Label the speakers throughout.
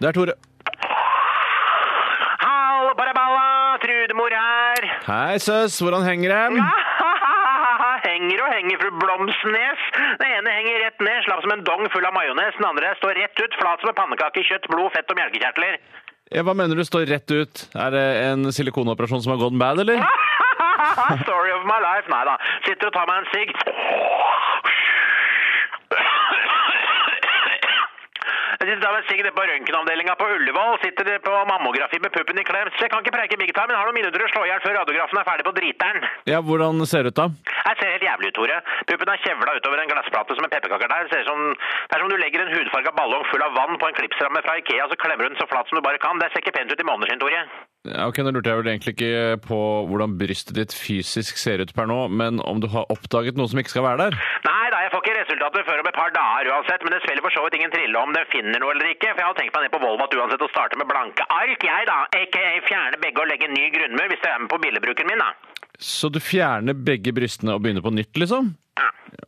Speaker 1: Det er Tore.
Speaker 2: Halla, baraballa, Trudemor her.
Speaker 1: Hei, søs. Hvordan henger det?
Speaker 2: Henger og henger, fru Blomsnes. Den ene henger rett ned, slapp som en dong full av majones. Den andre står rett ut, flat som en pannekake, kjøtt, blod, fett og melkekjertler.
Speaker 1: Ja, hva mener du står rett ut? Er det en silikonoperasjon som har gone bad, eller?
Speaker 2: Story of my life. Nei da. Sitter og tar meg en sigg. Jeg sitter og tar meg en sigg nede på røntgenavdelinga på Ullevål. Sitter det på mammografi med puppen i klem. Så jeg kan ikke preike big time, men har noen minutter å slå i hjel før radiografen er ferdig på driteren.
Speaker 1: Ja, hvordan ser det ut da?
Speaker 2: Jeg ser helt jævlig ut, Tore. Puppen er kjevla utover en glassplate som en pepperkaker der. Ser ut som, det er som du legger en hudfarga ballong full av vann på en klipsramme fra Ikea, så klemmer du den så flat som du bare kan. Det ser ikke pent ut i måneder sin, Tore.
Speaker 1: Ja, ok, Nå lurte jeg vel egentlig ikke på hvordan brystet ditt fysisk ser ut per nå, men om du har oppdaget noe som ikke skal være der?
Speaker 2: Nei da, jeg får ikke resultatet før om et par dager uansett, men det spiller for så vidt ingen trille om den finner noe eller ikke, for jeg har tenkt meg ned på Volvat uansett å starte med blanke ark, jeg da, aka fjerne begge og legge ny grunnmur hvis det er med på billedbruken min, da.
Speaker 1: Så du fjerner begge brystene og begynner på nytt, liksom?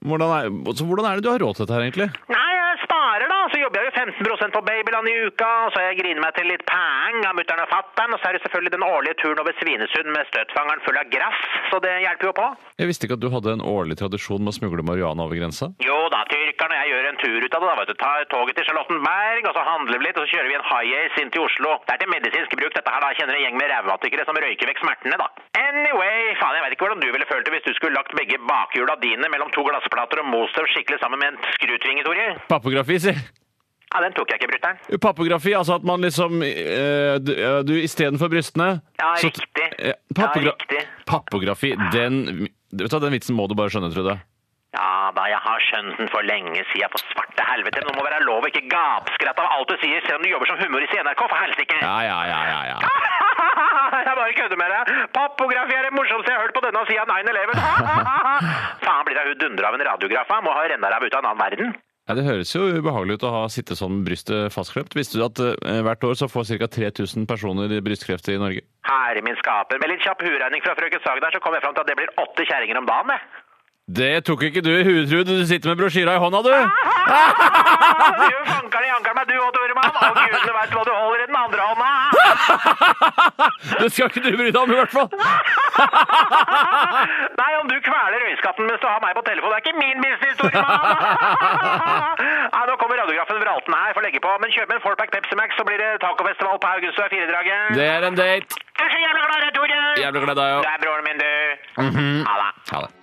Speaker 1: Hvordan er, så hvordan er det du har råd til dette her, egentlig?
Speaker 2: Nei, jeg sparer da, så jobber jeg jo 15 på Babyland i uka, og så jeg griner meg til litt peng av mutter'n og fatter'n, og så er det selvfølgelig den årlige turen over Svinesund med støtfangeren full av grass, så det hjelper jo på.
Speaker 1: Jeg visste ikke at du hadde en årlig tradisjon med å smugle marihuana over grensa.
Speaker 2: Jo da, tyrkerne, jeg gjør en tur ut av det. da, vet du. Tar toget til Charlottenberg, og så handler vi litt, og så kjører vi en high-ace inn til Oslo. Det er til medisinsk bruk, dette her da. Jeg kjenner en gjeng med revmatikere som røyker vekk smertene, da. Anyway, faen, jeg vet ikke hvordan du ville følt det hvis du skulle lagt begge bakhjula dine mellom to glassplater og most dem skikkelig sammen med en skrutvinge, Tore.
Speaker 1: Pappografi, si!
Speaker 2: Ja, den tok jeg ikke, brutter'n.
Speaker 1: Pappografi, altså at man liksom eh, Du, eh, du istedenfor brystene
Speaker 2: Ja,
Speaker 1: så-
Speaker 2: riktig.
Speaker 1: Eh, pappogra
Speaker 2: Ja, riktig.
Speaker 1: Pappografi, den Vet du hva, Den vitsen må du bare skjønne, Trude.
Speaker 2: Ja da, jeg har skjønt den for lenge siden, for svarte helvete. Men det må være lov å ikke gapskratte av alt du sier, selv om du jobber som humorist i NRK, for helsike!
Speaker 1: Ja, ja, ja, ja, ja.
Speaker 2: jeg bare kødder med deg. Pappografi er det morsomste jeg har hørt på denne siden 9-11. Faen, blir jeg dundra av en radiograf? da? Må ha rennaræv ut av en annen verden.
Speaker 1: Ja, Det høres jo ubehagelig ut å ha sittet sånn med brystet fastklemt. Visste du at eh, hvert år så får ca. 3000 personer brystkreft i Norge?
Speaker 2: Herre min skaper. Med litt kjapp huregning fra frøken Sagdar så kom jeg fram til at det blir åtte kjerringer om dagen, det.
Speaker 1: Det tok ikke du i huet, Trude. Du sitter med brosjyra i hånda, du!
Speaker 2: Du fanker det janker meg, du òg, Toremann. Og gudene veit hva du holder i den andre hånda.
Speaker 1: Det skal ikke du bry deg om, i hvert fall!
Speaker 2: Nei, om du kveler øyeskatten mens du har meg på telefon, det er ikke min business, Toremann. Nei, nå kommer radiografen vralten her, får legge på. Men kjøp med en fourpack Pepsi Max, så blir det tacofestival på Haugenstua 4-draget.
Speaker 1: Det er en date.
Speaker 2: Jeg er så jævla glad i deg, Tore.
Speaker 1: Jævlig glad i deg
Speaker 2: Du
Speaker 1: òg.
Speaker 2: er broren min, du. Ha det.
Speaker 1: Ha det.